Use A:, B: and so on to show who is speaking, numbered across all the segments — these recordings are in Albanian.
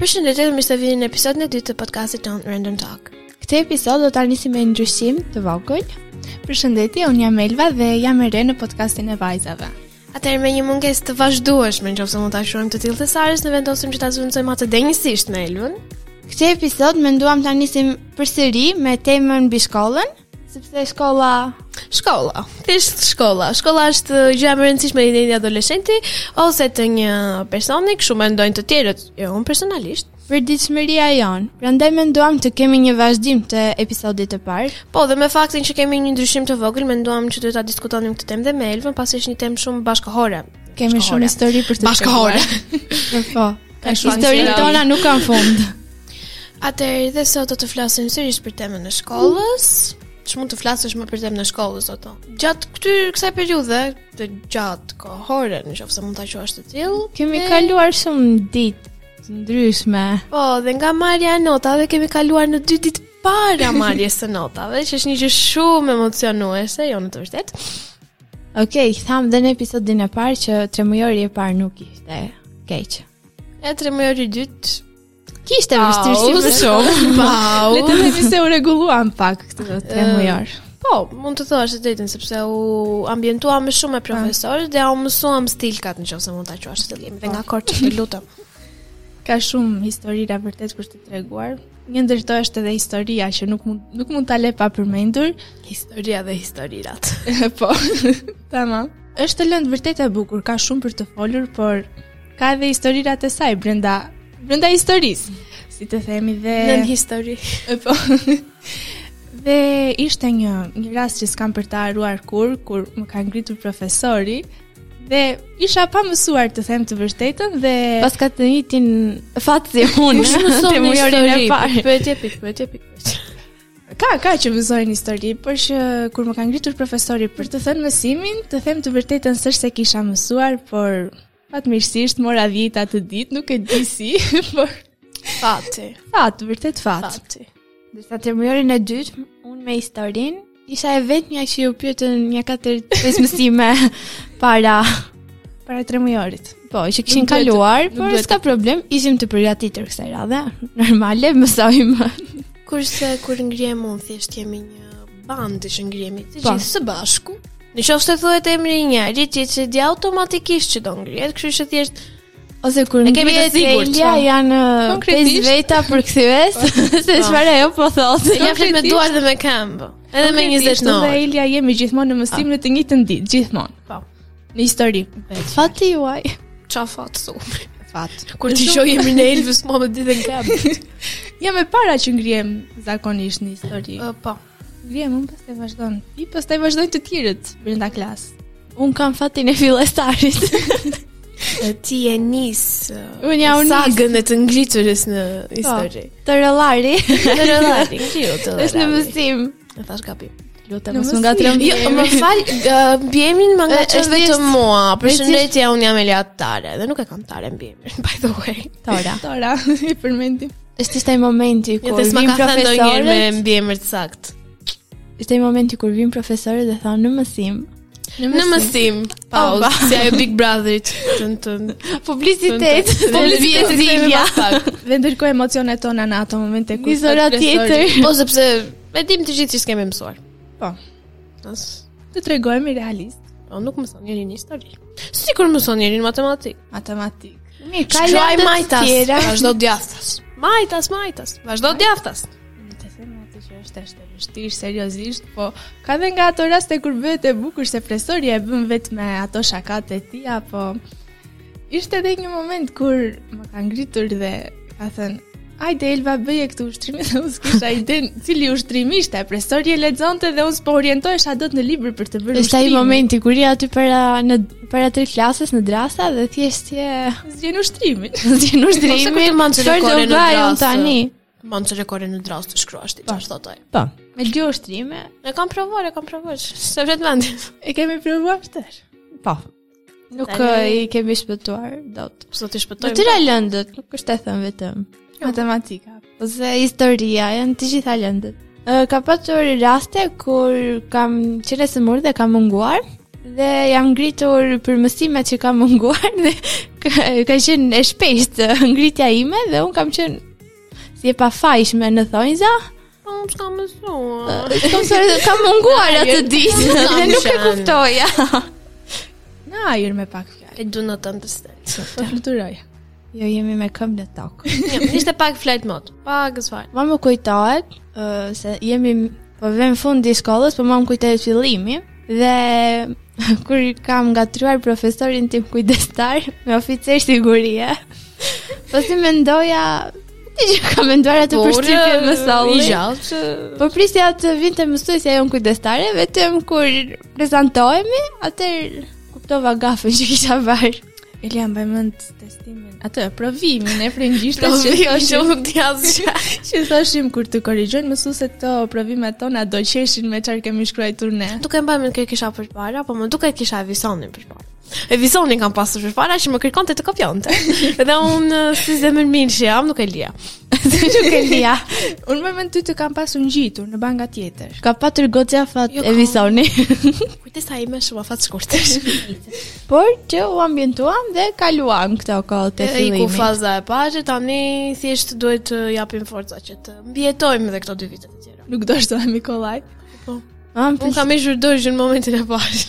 A: Përshëndetje dhe mirë se vini në episodin e dytë të podcastit ton Random Talk.
B: Këtë episod do ta nisim me një ndryshim të vogël.
C: Përshëndetje, unë jam Elva dhe jam e re në podcastin e vajzave.
A: Atëherë me një mungesë të vazhdueshme nëse mund ta shohim të tillë të Sarës, ne vendosim që ta zëvendësojmë atë denjësisht me Elvën.
B: Këtë episod menduam ta nisim përsëri me temën mbi shkollën, sepse shkolla
A: Shkolla, thjesht shkolla. Shkolla është gjë e rëndësishme në një adoleshenti ose të një personi, kështu mendojnë të tjerët, jo unë personalisht.
B: përditshmëria jon. Prandaj menduam të kemi një vazhdim të episodit të parë.
A: Po, dhe me faktin që kemi një ndryshim të vogël, menduam që duhet ta diskutonim këtë temë dhe me Elvën, pasi është një temë shumë bashkëhore.
B: Kemi shumë histori për të
A: Bashkëhore.
B: shkruar. Po.
A: Ka shumë
B: Historitë
A: histori.
B: tona nuk kanë fund.
A: Atëherë dhe sot do të flasim sërish për temën e shkollës. Ç'mund të flasësh më për temën e shkollës ato? Gjatë këtyr kësaj periudhe të gjatë kohore, nëse mund ta quash të tillë,
B: Kemi
A: e-
B: kaluar shumë ditë të ndryshme.
A: Po, dhe nga marrja e notave kemi kaluar në dy ditë para marrjes së notave, që është një gjë shumë emocionuese, jo në të vërtetë.
B: Okej, tham dhe në episodin e parë që tremujori e parë nuk ishte keq.
A: E tremori i dytë
B: Kishte
C: Ah,
A: Au,
B: vështirësi
A: shumë. Pau.
B: Le të themi se u rregulluam pak këtë tremujor.
A: Po, mund të thuash të drejtën sepse u ambientuam me
B: Po.
A: shumë e profesorë dhe u mësuam stilkat nëse mund ta quash të lëmë. Dhe nga
B: Po.
A: korçi të lutem.
C: Ka shumë historira vërtet për të treguar. Një ndërto është edhe historia që nuk mund nuk mund ta le pa përmendur.
A: Historia dhe historirat.
C: po. Tamam. Është lëndë vërtet e bukur, ka shumë për të folur, por ka edhe historirat e saj brenda brenda historisë, si të themi dhe
A: Nën histori.
C: E, Po. Dhe ishte një një rast që s'kam për ta haruar kur, kur më ka ngritur profesori dhe isha pa mësuar të them të vërtetën dhe
B: Pas ka të njitin fatë si unë
C: të mujorin e parë.
A: Pyetje pik, pyetje pik. pyetje.
C: ka ka që mësojnë histori, por që kur më ka ngritur profesori për të thënë mësimin, të them të vërtetën s'është se kisha mësuar, por fatmirësisht mora 10 atë ditë, nuk e di si, por
A: Fati,
C: fat, vërtet fat.
A: fati.
B: Dërsa të mujorin e dytë, unë me historin Isha e vetë mja që ju pyetën një 4-5 mësime para
C: Para 3 mujorit.
B: Po, që kishin
C: duhet të-
B: kaluar,
C: nuk
B: por
C: duhet
B: s'ka problem, ishim të përgatitur kësaj radhe. Normale, mësojmë.
A: Kurse kur ngrihem unë thjesht kemi një bandë që ngrihemi të
B: Po.
A: gjithë së bashku. Në qoftë se thuhet emri i njerit, që që di automatikisht që do ngrihet, kështu që thjesht
B: Ose kur
A: E kemi të
B: ngrihet
A: sigurt,
B: Elja
A: po.
B: janë 5
C: Konkretisht.
B: veta për kthyes, se çfarë ajo po thotë.
A: ja flet me duart dhe me këmbë. Edhe me 20
C: Konkretisht, unë
A: orë.
C: Dhe Elia jemi gjithmonë në mësim në të njëjtën ditë, gjithmonë.
A: Ah. Po.
C: Në histori.
B: Fati juaj.
A: Qa fatë su.
B: Fat.
A: Kur ti shoh emrin e Elvis mua më ditën këmbë.
C: Jam e para që ngrihem zakonisht në histori.
A: Po.
C: Ngrihem unë pastaj vazhdon. I pastaj vazhdojnë të tjerët brenda klasë.
B: Un kam fatin e fillestarit.
A: Ti je nis.
B: Unë jam nis. Po.
A: sagën e të ngriturës në histori.
B: Të rëllari.
A: Të rëllari, ngriu të rëllari.
B: Është në mësim.
A: E thash gabim.
B: Lutem,
C: Në
B: mos më
C: mësim.
B: ngatrëm.
A: Jo, më fal, ë, mbi emrin më
B: Ë,
A: ngacon
B: është
A: vetëm
B: thjesht-
A: mua. Përshëndetje, unë jam Elia Tare dhe nuk e kam Tare mbi emrin, by the way.
B: Tora.
C: Tora, i përmendim.
B: Është ishte ai momenti
A: Jo,
B: kur
A: të s'ma
B: vin
A: ka thënë ndonjëherë me
B: profesorët.
A: mbi emër të saktë.
B: Ishte ai momenti kur vin profesorët dhe thonë në mësim.
A: Në mësim, pauzë,
B: Opa.
A: si ajo Big Brotherit. Po, Tën tën.
B: Publicitet, publicitet Silvia.
C: Dhe ndërkohë emocionet tona në ato momente kur
B: Një zora
C: thot profesori,
B: tjetër.
A: Po sepse e dim të gjithë që s'kemë mësuar.
C: Po.
A: As
C: Të tregojmë realist,
A: Po nuk mëson njëri në histori. Sikur mëson njëri në matematikë.
C: matematik.
B: Mirë,
A: Shkruaj
B: lëndë të
A: majtas,
B: tjera.
A: vazhdo djathtas. Majtas, majtas, vazhdo djathtas.
C: Në të them atë që është është e vështirë seriozisht, po ka dhe nga ato raste kur bëhet e bukur se profesori e bën vetëm me ato shakat e tij, po ishte edhe një moment kur më ka ngritur dhe ka thënë Ajde Elva bëje këtë ushtrim dhe unë s'kisha iden cili ushtrim ishte. Profesori e lexonte dhe unë s'po orientohesha dot në libër për të bërë
B: Është ai
C: ushtrimin.
B: momenti kur je aty para në para tre klasës në drasa dhe thjesht je
C: Zgjen ushtrimin.
B: në
A: Ose kur
B: ushtrimin.
A: të manë
B: çfarë do
A: rekore në
B: bëj unë
A: drasë.
B: tani?
A: Mund të rekore në drast të shkruash ti, çfarë thotë ai.
B: Po. Me dy ushtrime.
A: E kam provuar, e kam provuar. Se vret mendin.
C: E kemi provuar tash.
B: Po. Nuk
A: Tani- Po,
B: e, i kemi shpëtuar dot.
A: Sot i shpëtoj.
B: Të tëra lëndët, nuk është e thënë vetëm.
C: Matematika.
B: Ose historia, janë të gjitha lëndët. Ë, Ka patur raste kur kam qenë së murë dhe kam munguar dhe jam ngritur për mësimet që kam munguar dhe ka, ka qenë e shpejtë ngritja ime dhe un kam qenë si e pafajshme në thonjza.
A: Po unë s'kam mësuar.
B: Kam se kam munguar atë ditë
A: nuk kam
B: dhe nuk e
A: qenë.
B: kuptoja.
C: Na ajër me pak fjalë.
A: I do not understand.
C: Po fluturoj.
B: Jo, jemi me këmbë në tokë.
A: Jo, ishte pak flight mode. Pak zvar.
B: Ma më kujtohet ë, se jemi po vem fundi i shkollës, po ma më kujtohet fillimi dhe kur kam ngatruar profesorin tim kujdestar me oficer sigurie. Pasi mendoja ti që kam menduar atë përshtypje më
A: I
B: salli.
A: gjatë.
B: Po prisja të vinte mësuesja jon kujdestare, vetëm kur prezantohemi, atëherë kuptova gafën që kisha bërë.
C: Elia mbaj mend testimin, atë provimin e frëngjishtes që
A: Jo,
C: thoshim,
A: jo, nuk di asgjë.
C: që thoshim kur të korrigjojnë mësuesit këto provimet tona do qeshin me çfarë kemi shkruar ne.
A: Nuk e mbaj mend kë kisha përpara, po më duket kisha Evisonin përpara. Evisonin kam pasur përpara që më kërkonte të kopjonte. Dhe unë uh, si zemër mirë që jam, nuk e lija.
B: Nuk e lija.
C: Unë më mend ty të kam pasur ngjitur në banka tjetër.
B: Ka patur gocja fat
A: Jo,
B: e
A: ka-
B: visoni.
A: Kujtesa ime shumë afat shkurtësh.
B: Por që u ambientuam dhe kaluam këto kohë të
A: E, I ku
B: fillimit.
A: faza e parë, tani thjesht duhet të japim forca që të mbjetojmë dhe këto dy vite të tjera.
C: Nuk do shtohem Nikolaj.
B: Mam
A: Unë kam i zhurdojshë në momentin e parë.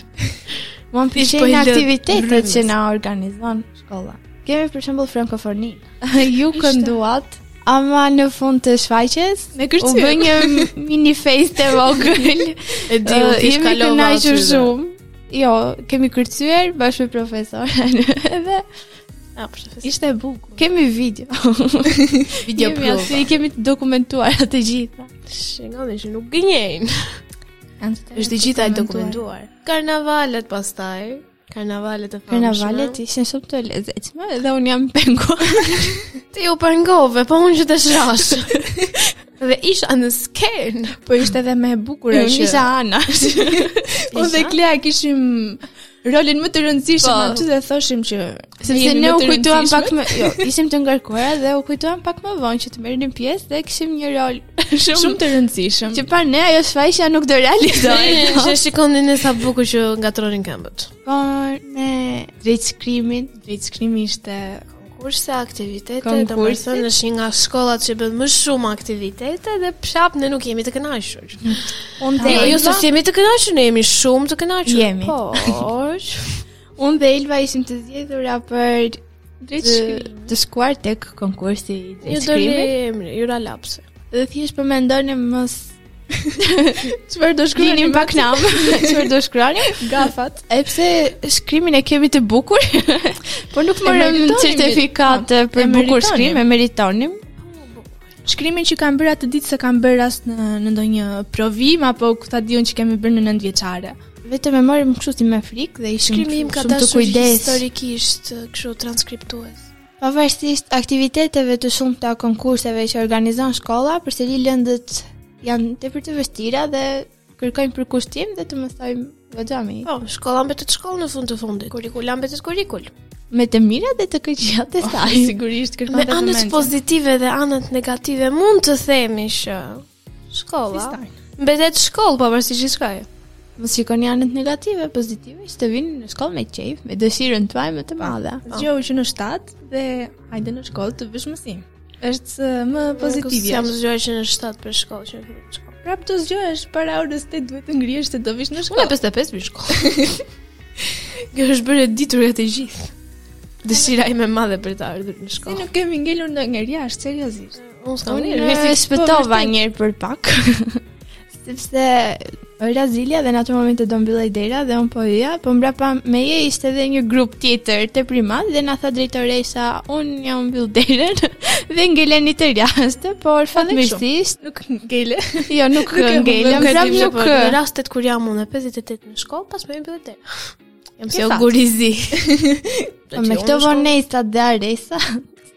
B: Mam
A: thjesht po i lë
B: pëlqejnë aktivitetet
A: rrymës.
B: që na organizon shkolla. Kemi për shembull frankofonin. Ju kënduat Ama në fund të shfaqjes
C: Me
B: U
C: kërcyer.
B: bë një mini fest e vogël
A: E di, unë
B: Ë,
A: thjesht
B: Jemi
A: kalova
B: kënaqur
A: aty dhe-
B: shumë Jo, kemi kërcyer bashkë me profesoren Edhe
A: A, përshëfis.
C: Ishte e bukur.
B: kemi video
A: Video
B: Kemi
A: prova.
B: aty, kemi të dokumentuar atë gjitha
A: Shingoni që nuk gënjejnë. Është e gjitha e dokumentuar. Karnavalet pastaj, karnavalet e famshme.
B: Karnavalet ishin shumë të lezetshme Dhe unë jam penguar
A: Ti u përngove, po unë që të shrash. dhe isha në skenë.
C: Po ishte edhe më e bukur
B: Jo, Unë
C: që.
B: isha Ana
C: Unë dhe
A: Isha?
C: Klea kishim rolin më të rëndësishëm
B: Po.
C: aty dhe thoshim që
B: Sepse
C: jemi
B: ne
C: më
B: u
C: të
B: kujtuam
C: rëndësishme.
B: pak më, jo, ishim të ngarkuara dhe u kujtuam pak më vonë që të merrnim pjesë dhe kishim një rol
C: Mm.
B: shumë,
C: shumë të rëndësishëm.
B: që pa ne ajo shfaqja nuk do realizohej.
A: Që shikonin e sa bukur që ngatronin këmbët.
B: Por me drejtshkrimin,
C: Vetë shkrimi ishte
A: Konkurse, aktivitete,
B: Konkurse.
A: do më thënë është një nga shkollat që bën më shumë aktivitete dhe prap ne nuk jemi të kënaqur.
B: unë dhe
A: Ne jo
B: Elva,
A: se jemi të kënaqur, ne jemi shumë të kënaqur.
B: Jemi.
A: Por
B: unë dhe Elva ishim të zgjedhura për të,
C: drejtshkrimi.
B: të shkuar tek konkursi i
A: ju doli
B: drejtshkrimit
A: emri, ju ra lapse.
B: dhe thjesht po mendonim mos
C: Çfarë do shkruanim
B: klinim pak nam, çfarë do shkruanim,
C: gafat.
B: e pse shkrimin e kemi të bukur, por Po nuk
C: E
B: morëm
C: meritonim,
B: certifikate
C: e
B: për bukur
C: meritonim.
B: shkrim, e meritonim.
C: Shkrimin që kam bërë atë ditë se kam bërë as në në ndonjë provim apo ku ta diun që kemi bërë në 9 vjeçare.
B: Vetëm e morëm kështu si me frikë dhe ishim
A: Shkrimi im ka
B: shumë të
A: dashur
B: kujdes.
A: historikisht kështu transkriptues.
B: Pavarësisht aktiviteteve të shumta konkurseve që organizon shkolla, përsëri lëndët janë tepër të vështira dhe kërkojmë për kushtim dhe të mësojmë goxhami
A: Po, shkolla mbetet shkollë në fund të fundit. Kurikula mbetet kurikul.
B: me të mirat dhe të këqijat e saj.
C: sigurisht
A: Me
C: kërkon të
A: anët
B: po
A: pozitive dhe anët negative mund të themi që shkolla mbetet shkollë po, pavarësisht gjithçkaje.
B: Mos shikoni anët negative, pozitive, që të vini në shkollë me qejf, me dëshirën tuaj më të madhe.
C: Ah. Zgjohu që në 7 dhe hajde në shkollë të vësh mësim. Është eh, më
A: Pozitive. Jam
C: pozitivja.
A: zgjuar që në 7 për shkollë që në shkollë.
C: Prap të zgjohesh para orës 8 duhet të ngrihesh të do vish në
A: Unë e
C: shkollë.
A: 55 për shkollë. Kjo është bërë e ditur e të gjithë. Dëshira ime e madhe për të ardhur në
C: Si
A: shkollë.
C: nuk kemi ngelur ndonjëherë jashtë, seriozisht.
A: Unë s'kam
B: Unë
A: unë
B: e shpëtova
C: vërtet.
B: njërë për pak Sepse Ora zilja dhe në atë moment të do mbillej dera dhe unë po hyja, po mbrapa me je ishte edhe një grup tjetër të primat dhe na tha drejtoresha, unë jam mbyll derën dhe ngeleni të rjashtë, por fatmirësisht,
C: Nuk ngele.
B: jo nuk
C: Nuk e
B: ngelem,
C: humbëm,
B: prap nuk
A: Në rastet kur jam unë e 58 në shkollë, pas më mbyllet dera. Jam si
C: Ke
A: o
C: fat.
A: gurizi.
B: Po me këto vonesat dhe aresa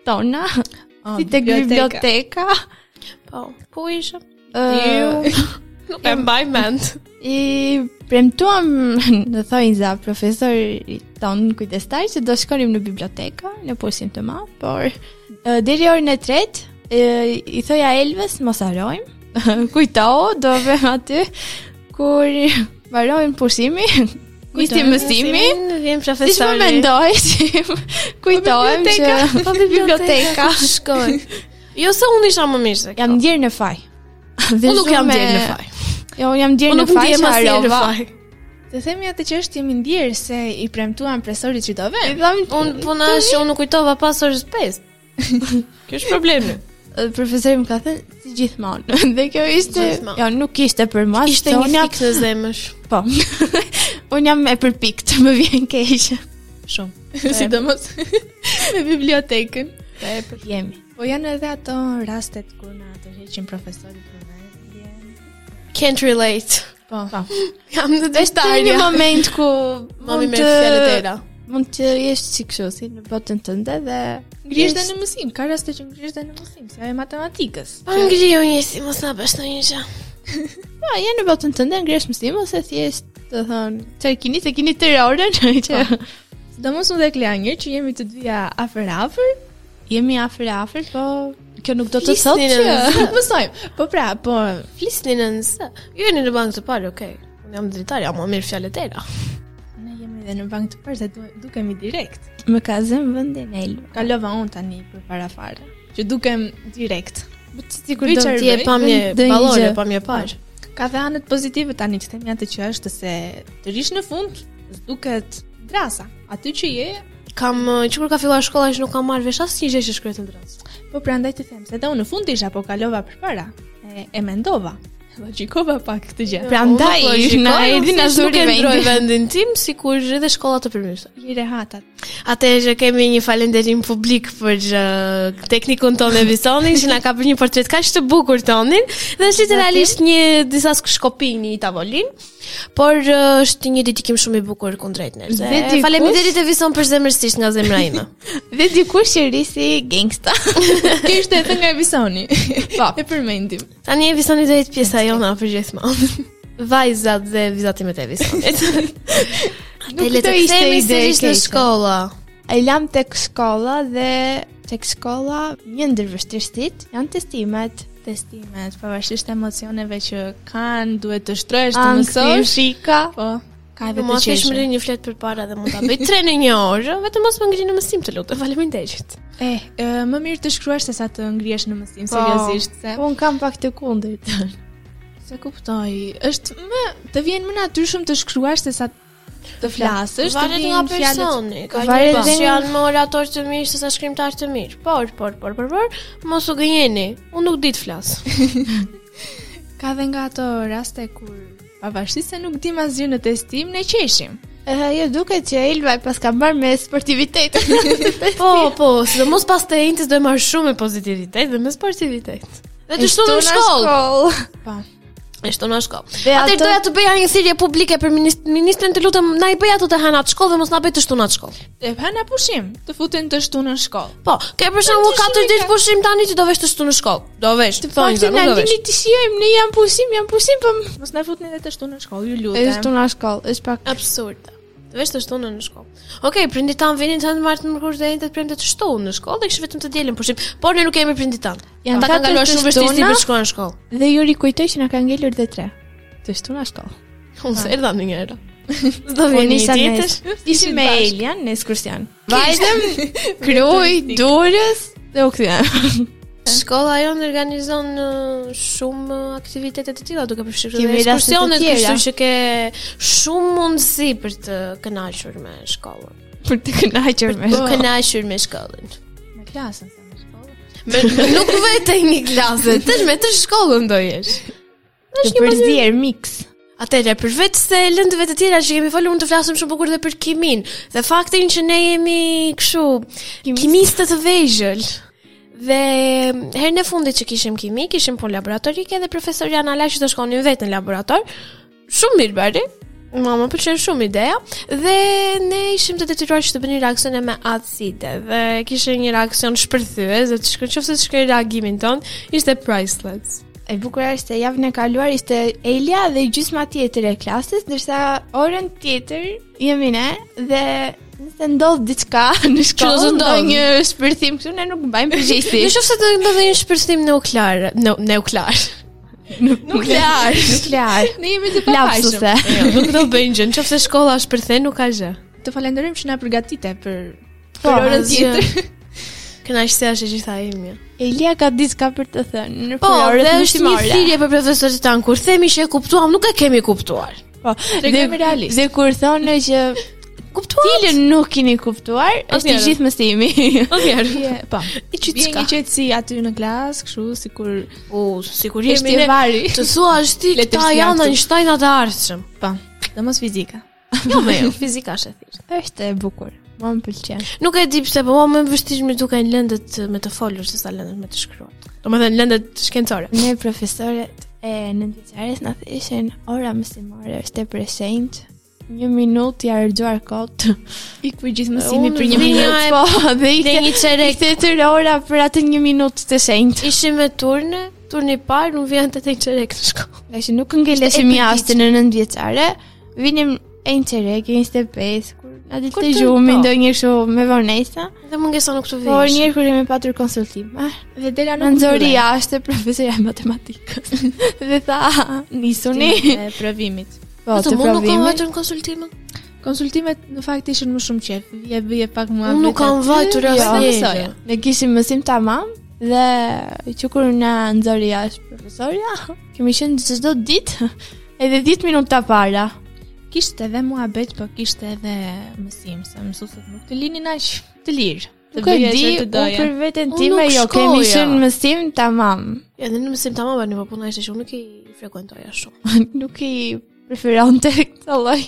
B: tona, si tek Ah, biblioteka,
A: Po, po isha.
B: ë,
A: Nuk e mbaj mend.
B: I premtuam në thonjza profesorit ton kujdestar që do shkonim në biblioteka në pushim të madh, por e, deri orën e tretë e, i thoja Elves mos harojmë. Kujto, do vëm aty kur mbarojmë pushimi. Kujtim mësimi.
A: vjen
B: Siç më
A: profesori.
B: mendoj, si kujtohem që po biblioteka.
A: Ku shkoj. Jo se unë isha më mirë se kjo.
B: Jam ndjer në faj. Dhe
A: unë nuk jam
B: shumë
A: djerë në
B: e-
A: faj.
B: Jo, unë jam ndjer
A: Unë
B: në
A: nuk
B: faj,
A: ndjem
B: që
A: as herë në
B: harrova.
A: faj.
C: Të themi atë që është jemi ndjerë se i premtuan presorit që do
B: I
C: vend.
B: tham
A: Unë puna është që unë nuk kujtova pas orës 5. Kjo është problemi.
B: Dhe profesori më ka thënë si gjithmonë. Dhe kjo ishte,
A: Gjithmonë.
B: jo, nuk ishte për mua,
A: Ishte
B: se
A: një
B: unë jam-
A: fikë në zemësh.
B: Po. unë jam e përpikt, më vjen keq.
C: Shumë. Sidomos me bibliotekën.
B: Jemi.
C: Po janë edhe ato rastet kur na tërheqin profesorit për ne.
A: Can't relate.
C: Po.
B: Po.
A: Jam në
B: Ka një
A: dështarja.
B: moment ku
A: Mami
B: mund
A: me
B: të
A: fjallet era.
B: mund të jesh si kështu si në botën tënde dhe
C: Ngrihesh dhe në mësim, ka raste që ngrihesh dhe në mësim, se ajo e matematikës.
A: Pa ngri unë jesi, mos na bësh në një gjë.
B: Po, je në botën tënde ngresh mësim ose thjesht të thonë, çfarë keni se keni tërë orën që
C: Sidomos unë dhe Kleanir që jemi të dyja afër afër,
B: jemi afër e afër, po kjo nuk do të
A: Flisni në
B: thotë që
A: mësim.
C: nuk mësojmë. Po pra, po
A: Flisni në nëse. Ju jeni në bankë të parë, okay. Unë jam dritarja, më mirë fjallet era.
C: ne jemi edhe në bank të parë dhe du- dukemi direkt.
B: më ka zënë vendin e Elma.
C: Kalova unë tani për para fare, që dukem direkt.
B: Po ti sigur
C: do-
B: do
C: Ti
A: Ti e
C: e
A: pamje
B: do një
A: ballore,
B: gjë.
A: pamje parë.
C: Ka dhe anët pozitive tani që themi atë që është se të rish në fund duket drasa. Aty që je,
A: Kam ë, që kur ka filluar shkolla që nuk kam marrë vesh asnjë gjë që shkruhet në drazë.
C: po prandaj të them se dhe unë në fund isha po kalova përpara. E, e mendova. Logjikova pak këtë gjë. Pra,
B: Prandaj,
A: Unë po shikoj,
B: na
A: unë
B: erdhi na
A: thjesht Nuk
B: zuri
A: e ndroj
B: vendi.
A: vendin tim, sikur edhe shkolla të përmirësoj.
C: I rehatat.
A: Atëherë kemi një falënderim publik për uh, teknikun tonë e Visonin që na ka bërë një portret kaq të bukur tonin dhe është literalisht një disa shkopi një tavolin, por uh, është një dedikim shumë i bukur kundrejt njerëzve.
B: Dhe dikush-
A: Faleminderit e Vison për zemërsisht nga zemra ime.
B: Dhe dikush që risi gangsta.
C: Kjo ishte edhe nga Visoni. Po. e përmendim.
A: Tani e Visoni do jetë pjesa jona për gjithmonë. Vajzat dhe vizatimet e Visonit.
B: Nuk
A: le të
B: do ishte
A: kthehemi
B: ide e
A: sërish në
B: keqe.
A: shkolla.
B: E lam tek shkolla dhe tek shkolla një ndër vështirësit janë testimet.
C: Testimet, pavarësisht emocioneve që kanë, duhet të shtrohesh të
B: Angsti,
C: mësosh.
B: shika.
C: Po, ka
A: Po
C: edhe të
A: mos e
C: qeshme.
A: shmëri një flet përpara dhe mund ta bëj tre në një orë, vetëm mos më ngrini në mësim të lutem. Faleminderit.
C: Eh, e, më mirë të shkruash se sa të ngrihesh në mësim,
B: Po.
C: seriozisht, se
B: Un kam pak të kundërt.
C: se kuptoj. Është më të vjen më natyrshëm të shkruash se sa të flasësh, të
A: Varet
C: vjen
A: nga
C: fjalët-
A: personi, ka
B: Varet
A: njerëz
B: dhe
A: që
B: nga-
A: janë më orator të mirë se sa shkrimtar të mirë. Por, por, por, por, por, mos u gënjeni. Unë nuk di të flas.
C: Ka dhe nga ato raste kur pavarësisht se nuk dim asgjë në testim, ne qeshim.
B: Ëh, jo duket që Elva pas ka marrë me sportivitet.
A: po, po, sidomos pas të entes do e marr shumë me pozitivitet dhe me sportivitet. Dhe të shtu në shkollë.
C: Po.
A: E shtu në shkollë.
B: Dhe
A: Atë
B: ato-
A: doja të bëja një thirrje publike për minist- ministrin të lutem na i bëj ato të hanat shkollë dhe mos na bëj të shtunat shkollë.
C: E hëna pushim, të futen të shtu në shkollë.
A: Po, ke për shembull 4 ditë pushim tani ti do vesh të shtu në shkollë. Do vesh. Thonë, nuk
B: Faktin Po, na
A: do vesh.
B: dini të shijojmë, ne jam pushim, jam pushim, po
C: Mos na futni edhe të shtu në shkollë, ju lutem.
B: është në shkollë, është pak
A: Absurde. Të vesh të shtunën në shkollë. Okej, prindit tan vinin tan martë më kur të njëjtë prindit të shtunën në shkollë, dhe kishin vetëm të dielën pushim, por ne nuk kemi prindit tan.
B: Janë
A: Ata kanë
B: katër
A: kaluar
B: të
A: shumë vështirësi
B: shtuna.
A: për të shkuar në shkollë.
B: dhe ju rikujtoj që na ka ngelur dhe tre. Të shtu në shkollë.
A: Unë se erdha ndonjëherë. S'do
B: Unë
A: vjen
B: isha
A: një
B: me.
A: tjetër.
B: Ishim me
C: bashkë.
B: Elian në ekskursion. Vajtëm, kruj, durës dhe u kthyem.
A: Shkolla jonë organizon uh, shumë uh, aktivitete të tilla duke përfshirë
B: Kemi
A: dhe
B: raste të
A: ekskursionet,
B: tjera.
A: kështu që ke shumë mundësi për të kënaqur me shkollën.
B: Për të kënaqur me
A: Për të
B: shkollë.
A: kënaqur Po, me shkollën.
C: Me klasën sa në shkollë.
A: Me, nuk vetë një klasë, tësh me të shkollën do jesh.
B: Të përzier mix.
A: Atëherë, përveç se lëndëve të tjera që kemi folur, unë të flasim shumë bukur dhe për kimin, dhe faktin që ne jemi kështu
B: Kimist.
A: kimistë të vegjël. Dhe herën e fundit që kishim kimi, kishim punë laboratorike dhe profesori Anala që të shkonin vetë në laborator. Shumë mirë bëri. Mua më pëlqen shumë ideja dhe ne ishim të detyruar që të bënim reaksione me acide dhe kishte një reaksion shpërthyes dhe të shkon nëse të shkoi reagimin ton, ishte priceless.
B: E bukur është se javën e kaluar ishte Elia dhe gjysma tjetër e klasës, ndërsa orën tjetër jemi ne dhe nëse ndodh diçka në
A: Që do të
B: shkollë,
A: ndodhë.
B: ndonjë shpërthim këtu ne nuk mbajmë përgjegjësi.
A: Në qoftë se do të ndodhë një shpërthim nuklear, nu- nuklear. Nuklear.
B: Nuklear.
C: Ne jemi të papajshëm.
B: Lapsuse.
A: jo, nuk do bëjnë gjë. Nëse shkolla është përthe, nuk ka gjë.
C: Të falenderojmë që na përgatite për
B: Po,
C: për orën
A: asgjë.
C: tjetër.
A: Kënaqësia është e gjitha ime.
B: Elia ka diçka për të thënë në
A: Po,
B: orën
A: dhe është një thirrje për profesorët tan kur themi që e kuptuam, nuk e kemi kuptuar.
B: Po,
C: Tregojmë realist.
B: Dhe kur thonë që
A: Kuptuat?
B: cilën nuk keni kuptuar, është i
A: Atëherë.
B: gjithë mësimi.
A: Mirë.
C: Je, po.
A: I
C: Bie një
A: çitska.
C: qetësi aty në klasë, kështu sikur
A: U, sigurisht
C: Është e
A: ne-
C: vari.
A: Të thua është ti,
C: Letërsia
A: këta janë
C: këtu.
A: Einsteinat e ardhshëm.
C: po, domos fizika.
A: Jo, me jo, fizika është e thjeshtë.
B: është e bukur. Mua më pëlqen.
A: Nuk e di pse, po mua më vështirë më duken lëndët me të folur se sa lëndët me të shkruar. Domethënë lëndët shkencore.
B: Ne profesorët e nëntëçares na thëshën ora mësimore është e preshenjtë. Një minutë ja rëgjuar kot.
C: Iku i gjithë mësimi për një
A: Unë
C: minutë.
A: vija e-
B: Po, dhe i
A: Dhe
B: ke
A: një çerek
B: Ishte tërë ora për atë një minutë të shenjtë.
A: ishim me turne, turni i parë, unë vjen te tek çerek në shkollë.
B: Nga që nuk ngeleshim
A: Ishte e
B: jashtë në nëndë vjeqare, vinim e një qerek, e një ste pesë, kur na
A: Kur
B: dilte
A: të-
B: gjumi,
A: po.
B: ndoj një shu me vonesa,
A: Dhe më ngeson këtu vjen.
B: por njërë kur jemi patur konsultime,
C: Dhe dela
B: në
C: në
B: nëzori jashtë profesorja e matematikës, dhe tha, nisuni.
C: e provimit.
B: Po, të
A: mund nuk kam
B: provimi,
A: vajtur në konsultimin.
C: Konsultimet në fakt ishin më shumë qef. Vije bie pak më
A: Unë nuk kam vajtur
B: Jo,
A: asnjë.
B: ne kishim mësim tamam, dhe që kur na nëzori jashtë profesorja, kemi qenë çdo ditë, edhe 10 minuta para.
C: Kishte edhe muhabet, po kishte edhe mësim, se mësuesit nuk të linin aq të lirë. Të
B: Nuk e
C: bëje
B: di,
C: çfarë të
B: unë
C: doja.
B: për veten
A: Unë
B: time
A: nuk
B: jo, kemi
A: shkoja.
B: qenë mësim tamam.
A: Edhe në mësim tamam bani, po puna ishte që unë nuk i frekuentoja shumë.
B: Nuk i preferonte këtë lloj.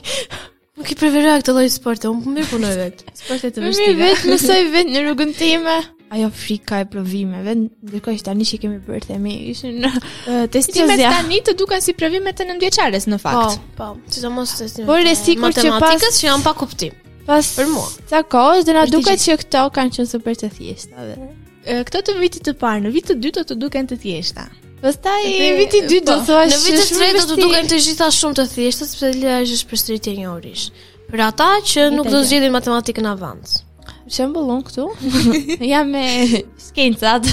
A: Nuk i preferoja këtë lloj sporte, unë mirë punoj vetë.
C: Sporte të
B: Më mirë
C: vështira.
B: vetë mësoj vetë në rrugën time. Ajo frika e provimeve, ndërkohë që tani që kemi bërë themi, ishin uh,
C: Ë, Testimet
B: Zozja.
C: tani të duken si provimet e nëndjeçares në
A: Po,
C: fakt.
A: po, sidomos të stimet.
B: Por e sigurt që pas-
A: matematikës që janë pa kuptim.
B: pas
A: Për mua.
B: Sa kohë dhe na
C: Është i
B: duket që këto kanë qenë super të thjeshta dhe.
C: Ë, Po, Këto të vitit të parë, në vitit të dytë do të duken të thjeshta.
B: Pastaj
C: Dhe-
B: viti i dytë do
C: po,
B: thua
A: Në vitet e tretë do të duken të gjitha shumë të thjeshta sepse lëja është është përsëritje e një orish. Për ata që nuk do
C: Italia.
A: zgjedhin matematikën avans.
B: Për shembull unë këtu jam me skencat.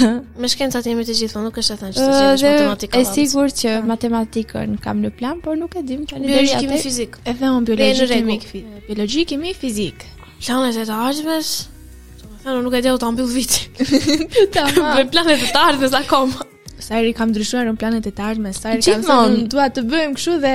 A: Me shkencat jemi të gjithë, po nuk është e thënë që të
B: Ë,
A: zgjedhësh
B: Dhe
A: matematikën
B: e
A: avans.
B: sigurt që matematikën kam në plan, por nuk e dim tani deri
A: Biologi, kimi,
B: atë.
A: fizik.
C: Edhe unë biologji,
A: Dhe në
C: kemi,
A: rregull.
C: fi- biologji, kemi fizik.
A: Planet e të ardhmes. Domethënë unë nuk e di u ta mbyll vitin.
C: Tamam.
A: Me planet e të ardhmes akoma.
C: Sa herë i kam ndryshuar unë planet e të ardhme, sa herë kam
B: Gjithmonë.
C: thënë dua të bëjmë kështu dhe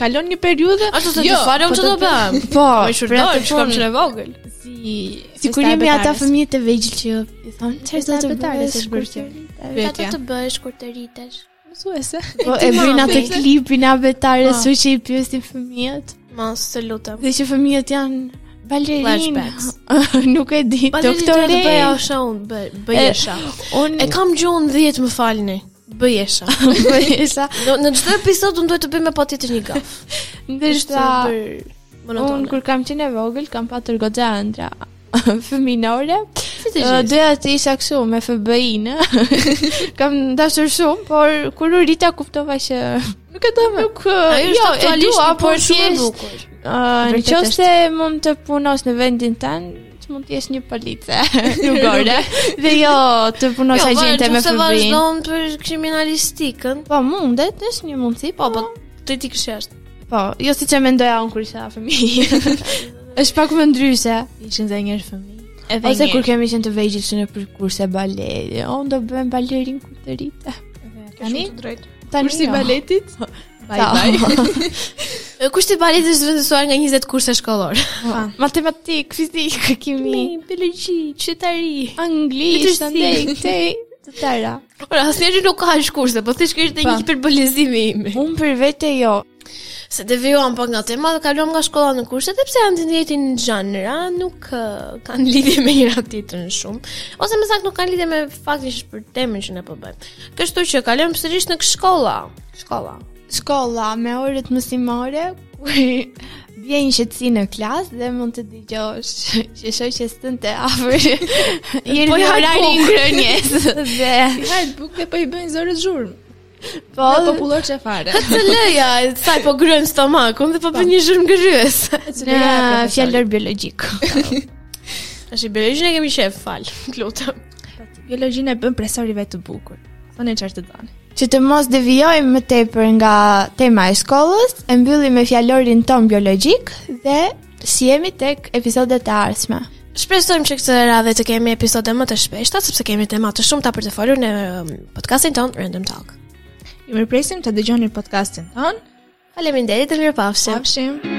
C: kalon një periudhë.
A: Ashtu se Jo, të farem
C: po
A: që do
C: bëj
A: bëhem.
B: Po,
A: Po i
B: për atë
A: shurdoj, shkam
B: punë.
A: që në vogël.
C: Si
B: Sikur
C: festa e
B: jemi ata
C: betarës.
B: fëmijët e vegjël që i thon çfarë do të
C: betare
B: bësh
C: se
B: kur
C: shkruaj
B: të
C: qenë."
A: Çfarë
B: rritesh?"
C: Vetja.
A: do të bësh kur të rritesh?
C: Mësuese.
B: Po
A: ti
B: e
A: ma,
B: vrin atë
A: vetë.
B: klipin a betare
C: Po.
B: su që i pyesin fëmijët
A: Mos të lutem.
B: dhe që fëmijët janë balerinë.
A: Flashbacks.
B: Nuk e di,
A: Doktorë
B: doktore.
A: bëja është unë, bëj- bëjesha.
B: Unë
A: E kam gjuhën 10 më falni. Bëjesha.
B: bëhesha
A: Në në çdo episod unë duhet të bëj me patjetër një gaf.
B: ndërsa unë
A: monotone.
B: kur kam qenë e vogël kam patur goxha ëndra fëminore.
A: Si të
B: Ë,
A: gjithë.
B: Doja të isha kështu me FBI-në. Kam dashur shumë, por kur u rita kuptova që
C: Nuk e dëmë.
B: nuk ë,
A: Ajo është
B: jo, e
A: aktualisht
B: dua,
A: një
B: por
A: punë shumë e
B: thjesht
A: bukur.
B: ë, në
C: Vërtet
B: qoftë se mund të punosh në vendin tan, që mund të jesh një police rrugore dhe jo të punosh
A: Jo,
B: agjente me
A: se
B: FBI-n.
A: vazhdon për kriminalistikën.
B: Po mundet, është një mundësi,
A: Po,
B: po,
A: po ti ti kishe jashtë.
B: po, jo siç e mendoja unë kur isha fëmijë. Është pak më ndryshe.
C: Ishin dhe njerë fëmijë. Edhe
B: Ose
C: njerë.
B: kur kemi qenë të vegjël që në për kurse baleti, unë do bëhem balerin kur të rritë.
C: Tani,
B: Tani
C: kursi
B: jo.
C: baletit. Bye
B: Ta.
C: bye.
A: Kushti i balit është vendosur nga 20 kurse shkollore.
B: Matematik, fizik, kimi,
C: biologji, qytetari.
B: anglisht,
C: Letërsi.
B: andaj, këtej, të tëra.
A: Ora, asnjëri nuk ka as kurse, po thjesht kishte një
C: Po.
A: hiperbolizimi imi.
B: Unë për vete jo.
A: Se devijuam pak nga tema dhe kaluam nga shkolla në kurse, dhe pse janë të njëjtin gjanra, nuk ë, kanë lidhje me njëra tjetrën shumë, ose më saktë nuk kanë lidhje me faktin për temën që ne po bëjmë. Kështu që kalojmë sërish në shkolla. Shkolla.
B: Shkolla me orët mësimore, kur vjen qetësi në klasë dhe mund të dëgjosh që shoqes tënde afër. Jeri
A: Po
B: në
A: ja,
B: orarin
A: po.
B: ngrënjes dhe
C: I hajt bukë dhe po i bëjnë zorët zhurmë.
B: po
C: Po popullor që fare.
A: Të lëja, sa i po gryen stomakun dhe po bën një zhurmë gërryese.
B: në fjalor biologjik.
A: Tash i biologjin e kemi shef, fal, lutem.
C: Biologjinë e bën presorive të bukur. Thonë çfarë të doni.
B: Që të mos devijojmë më tepër nga tema e shkollës, e mbyllim me fjalorin ton biologjik dhe si jemi tek episodet e ardhshme.
A: Shpresojmë që këtë radhë të kemi episode më të shpeshta sepse kemi tema të shumta për të folur në um, podcastin ton Random Talk.
C: Ju mirëpresim të dëgjoni podcastin ton.
A: Faleminderit dhe mirupafshim.
C: Pafshim.